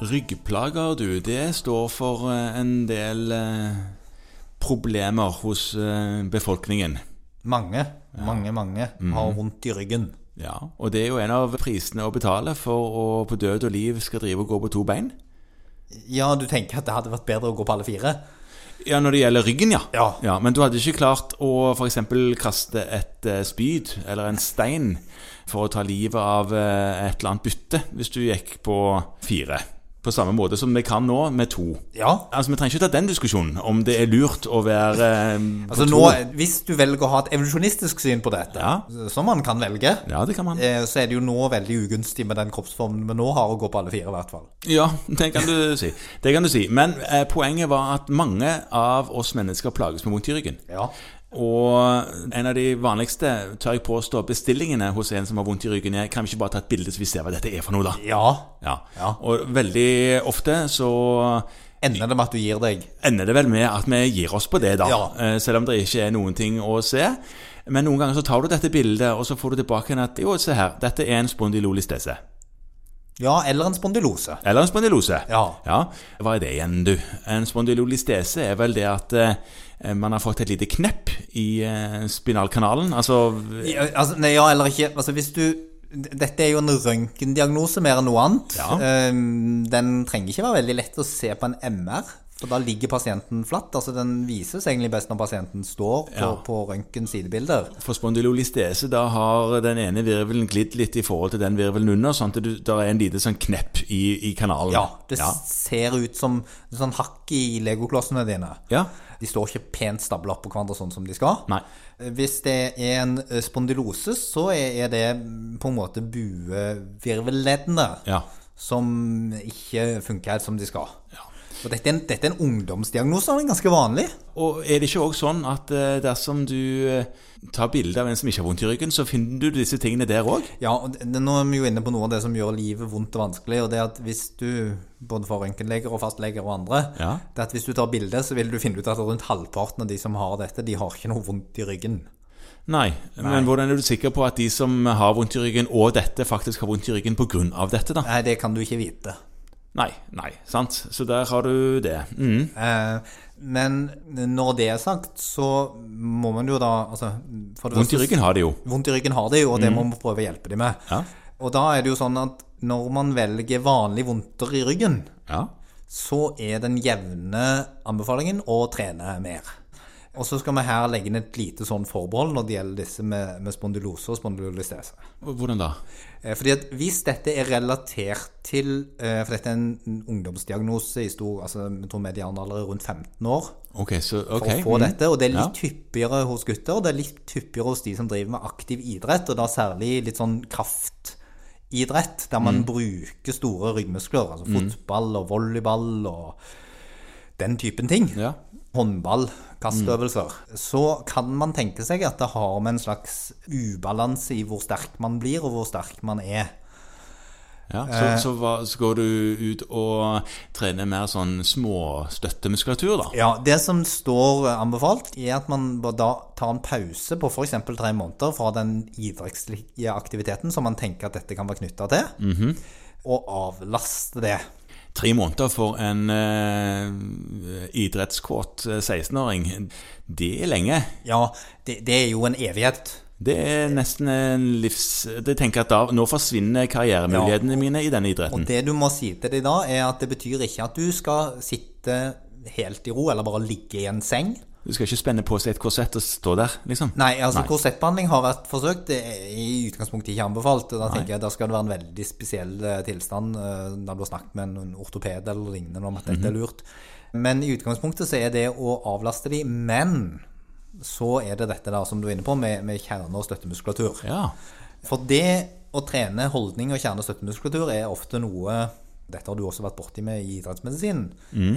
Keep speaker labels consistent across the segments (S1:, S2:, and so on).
S1: Ryggplager, du, det står for eh, en del eh, problemer hos eh, befolkningen.
S2: Mange, mange, mange Mhm. har vondt i ryggen.
S1: Ja, og det er jo en av prisene å betale for å på død og liv skal drive og gå på to bein.
S2: Ja, du tenker at det hadde vært bedre å gå på alle fire?
S1: Ja, når det gjelder ryggen, ja.
S2: Ja.
S1: Men du hadde ikke klart å f.eks. kaste et eh, spyd eller en stein for å ta livet av eh, et eller annet bytte, hvis du gikk på fire. På samme måte som vi kan nå med to.
S2: Ja.
S1: Altså, Vi trenger ikke ta den diskusjonen om det er lurt å være eh, på
S2: Altså
S1: to.
S2: nå, hvis du velger å ha et evolusjonistisk syn på dette,
S1: Ja.
S2: som man kan velge,
S1: Ja, det kan man.
S2: eh, så er det jo nå veldig ugunstig med den kroppsformen vi nå har å gå på alle fire, i hvert fall.
S1: Ja, det kan du si. Det kan du si. Men eh, poenget var at mange av oss mennesker plages med vondt i ryggen.
S2: Ja.
S1: Og en av de vanligste, tør jeg påstå, bestillingene hos en som har vondt i ryggen, er kan vi ikke bare ta et bilde så vi ser hva dette er for noe, da?
S2: Ja.
S1: Ja.
S2: Ja.
S1: Og veldig ofte så
S2: Ender det med at du gir deg?
S1: ender det vel med at vi gir oss på det, da.
S2: Ja.
S1: Eh, Selv om det ikke er noen ting å se. Men noen ganger så tar du dette bildet, og så får du tilbake igjen at jo, se her, dette er en spondylolistese.
S2: Ja, eller en spondylose.
S1: Eller en spondylose.
S2: Ja.
S1: Hva er det igjen, du? En spondylolistese er vel det at eh, man har fått et lite knepp i eh, spinalkanalen. Altså
S2: Ja, altså, nei, ja eller ikke. Altså, hvis du d- dette er jo en røntgendiagnose mer enn noe annet.
S1: Ja.
S2: Ehm, Den trenger ikke være veldig lett å se på en MR, for da ligger pasienten flatt. Altså, den vises egentlig best når pasienten står på,
S1: Ja.
S2: på røntgens sidebilder.
S1: for spondylolistese, da har den ene virvelen glidd litt i forhold til den virvelen under, sånn at det er en lite sånn knepp i, i kanalen.
S2: Ja, det
S1: ja.
S2: ser ut som sånn hakk i legoklossene dine.
S1: ja.
S2: De står ikke pent stabla på hverandre sånn som de skal.
S1: Nei.
S2: Hvis det er en spondylose, så er er det på en måte buevirvelleddene.
S1: Ja.
S2: som ikke funker helt som de skal.
S1: Ja.
S2: Og dette er, en, dette er en ungdomsdiagnose, og den er ganske vanlig.
S1: Og er det ikke òg sånn at eh, dersom du eh, tar bilde av en som ikke har vondt i ryggen, så finner du disse tingene der òg?
S2: Ja, og det, nå er vi jo inne på noe av det som gjør livet vondt og vanskelig, og det er at hvis du, både for røntgenleger og fastleger og andre,
S1: Ja.
S2: det er at hvis du tar bilde, så vil du finne ut at rundt halvparten av de som har dette, de har ikke noe vondt i ryggen.
S1: Nei. Men hvordan er du sikker på at de som har vondt i ryggen og dette, faktisk har vondt i ryggen pga. dette, da?
S2: Nei, det kan du ikke vite.
S1: Nei, nei, sant. Så der har du det. Mm.
S2: Eh, Men når det er sagt, så må man jo da altså, for det
S1: Vondt i
S2: første-
S1: ryggen har de jo.
S2: Vondt i ryggen har de, jo, og det må vi prøve å hjelpe dem med.
S1: Ja.
S2: Og da er det jo sånn at når man velger vanlig vondter i ryggen,
S1: Ja.
S2: så er den jevne anbefalingen å trene mer. Og så skal vi her legge inn et lite sånn forbehold når det gjelder disse med, med spondylose og spondylolistese.
S1: Hvordan da?
S2: Eh, Fordi at hvis dette er relatert til eh, For dette er en ungdomsdiagnose i stor altså, Jeg tror medianalder er rundt 15 år
S1: Ok, så
S2: for
S1: ok.
S2: å få
S1: mm.
S2: dette. Og det er
S1: Ja.
S2: litt hyppigere hos gutter, og det er litt hyppigere hos de som driver med aktiv idrett, og da særlig litt sånn kraftidrett, der
S1: Mm.
S2: man bruker store ryggmuskler, altså fotball og volleyball og den typen ting.
S1: Ja. Mm.
S2: Håndball, kasteøvelser. Så kan man tenke seg at det har med en slags ubalanse i hvor sterk man blir, og hvor sterk man er.
S1: Mm, Ja, så,
S2: Eh.
S1: så, hva, så går du ut og trener mer sånn småstøttemuskulatur, da?
S2: Ja, Det som står eh, anbefalt, er at man bør da tar en pause på f.eks. tre måneder fra den idrettslige aktiviteten som man tenker at dette kan være knytta til, og avlaste det.
S1: Tre måneder for en eh, idrettskåt eh, 16-åring, det er lenge.
S2: Ja, det, det er jo en evighet.
S1: Det er nesten en livs... Det tenker jeg at da, Nå forsvinner karrieremulighetene mine i denne idretten.
S2: Og det du må si til deg da, er at det betyr ikke at du skal sitte helt i ro, eller bare ligge i en seng.
S1: Du skal ikke spenne på seg et korsett og stå der, liksom?
S2: Nei, altså korsettbehandling har vært forsøkt. Det er i utgangspunktet ikke anbefalt. og Da tenker jeg da skal det være en veldig spesiell eh, tilstand eh, når du har snakket med en ortoped eller lignende om at dette er lurt. Men i utgangspunktet så er det å avlaste de, men så er det dette da som du er inne på med, med kjerne- og støttemuskulatur.
S1: Ja.
S2: For det å trene holdning og kjerne- og støttemuskulatur er ofte noe dette har du også vært borti med i idrettsmedisinen.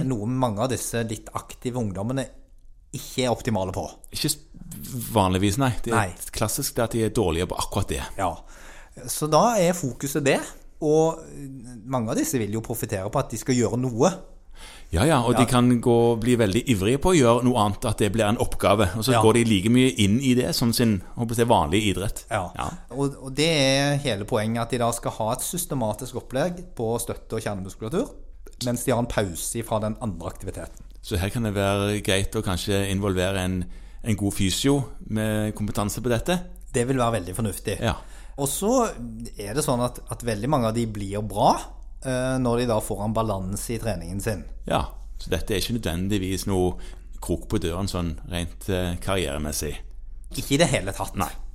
S2: Noe mange av disse litt aktive ungdommene ikke er optimale på.
S1: Ikke s- vanligvis, nei. Det er
S2: Nei.
S1: klassisk det at de er dårlige på akkurat det.
S2: Ja. Så da er fokuset det. Og mange av disse vil jo profitere på at de skal gjøre noe.
S1: Ja, ja, og de kan gå, bli veldig ivrige på å gjøre noe annet, at det blir en oppgave. Og så
S2: Ja.
S1: går de like mye inn i det som sin håper jeg, vanlige idrett. Ja.
S2: Og, og det er hele poenget at de da skal ha et systematisk opplegg på støtte- og kjernemuskulatur. mens de har en pause fra den andre aktiviteten.
S1: Så her kan det være greit å kanskje involvere en, en god fysio med kompetanse på dette.
S2: Det vil være veldig fornuftig.
S1: Ja.
S2: Og så er det sånn at, at veldig mange av de blir bra eh, når de da får en balanse i treningen sin.
S1: ja. Så dette er ikke nødvendigvis noe krok på døren sånn rent eh, karrieremessig.
S2: Ikke i det hele tatt.
S1: Nei.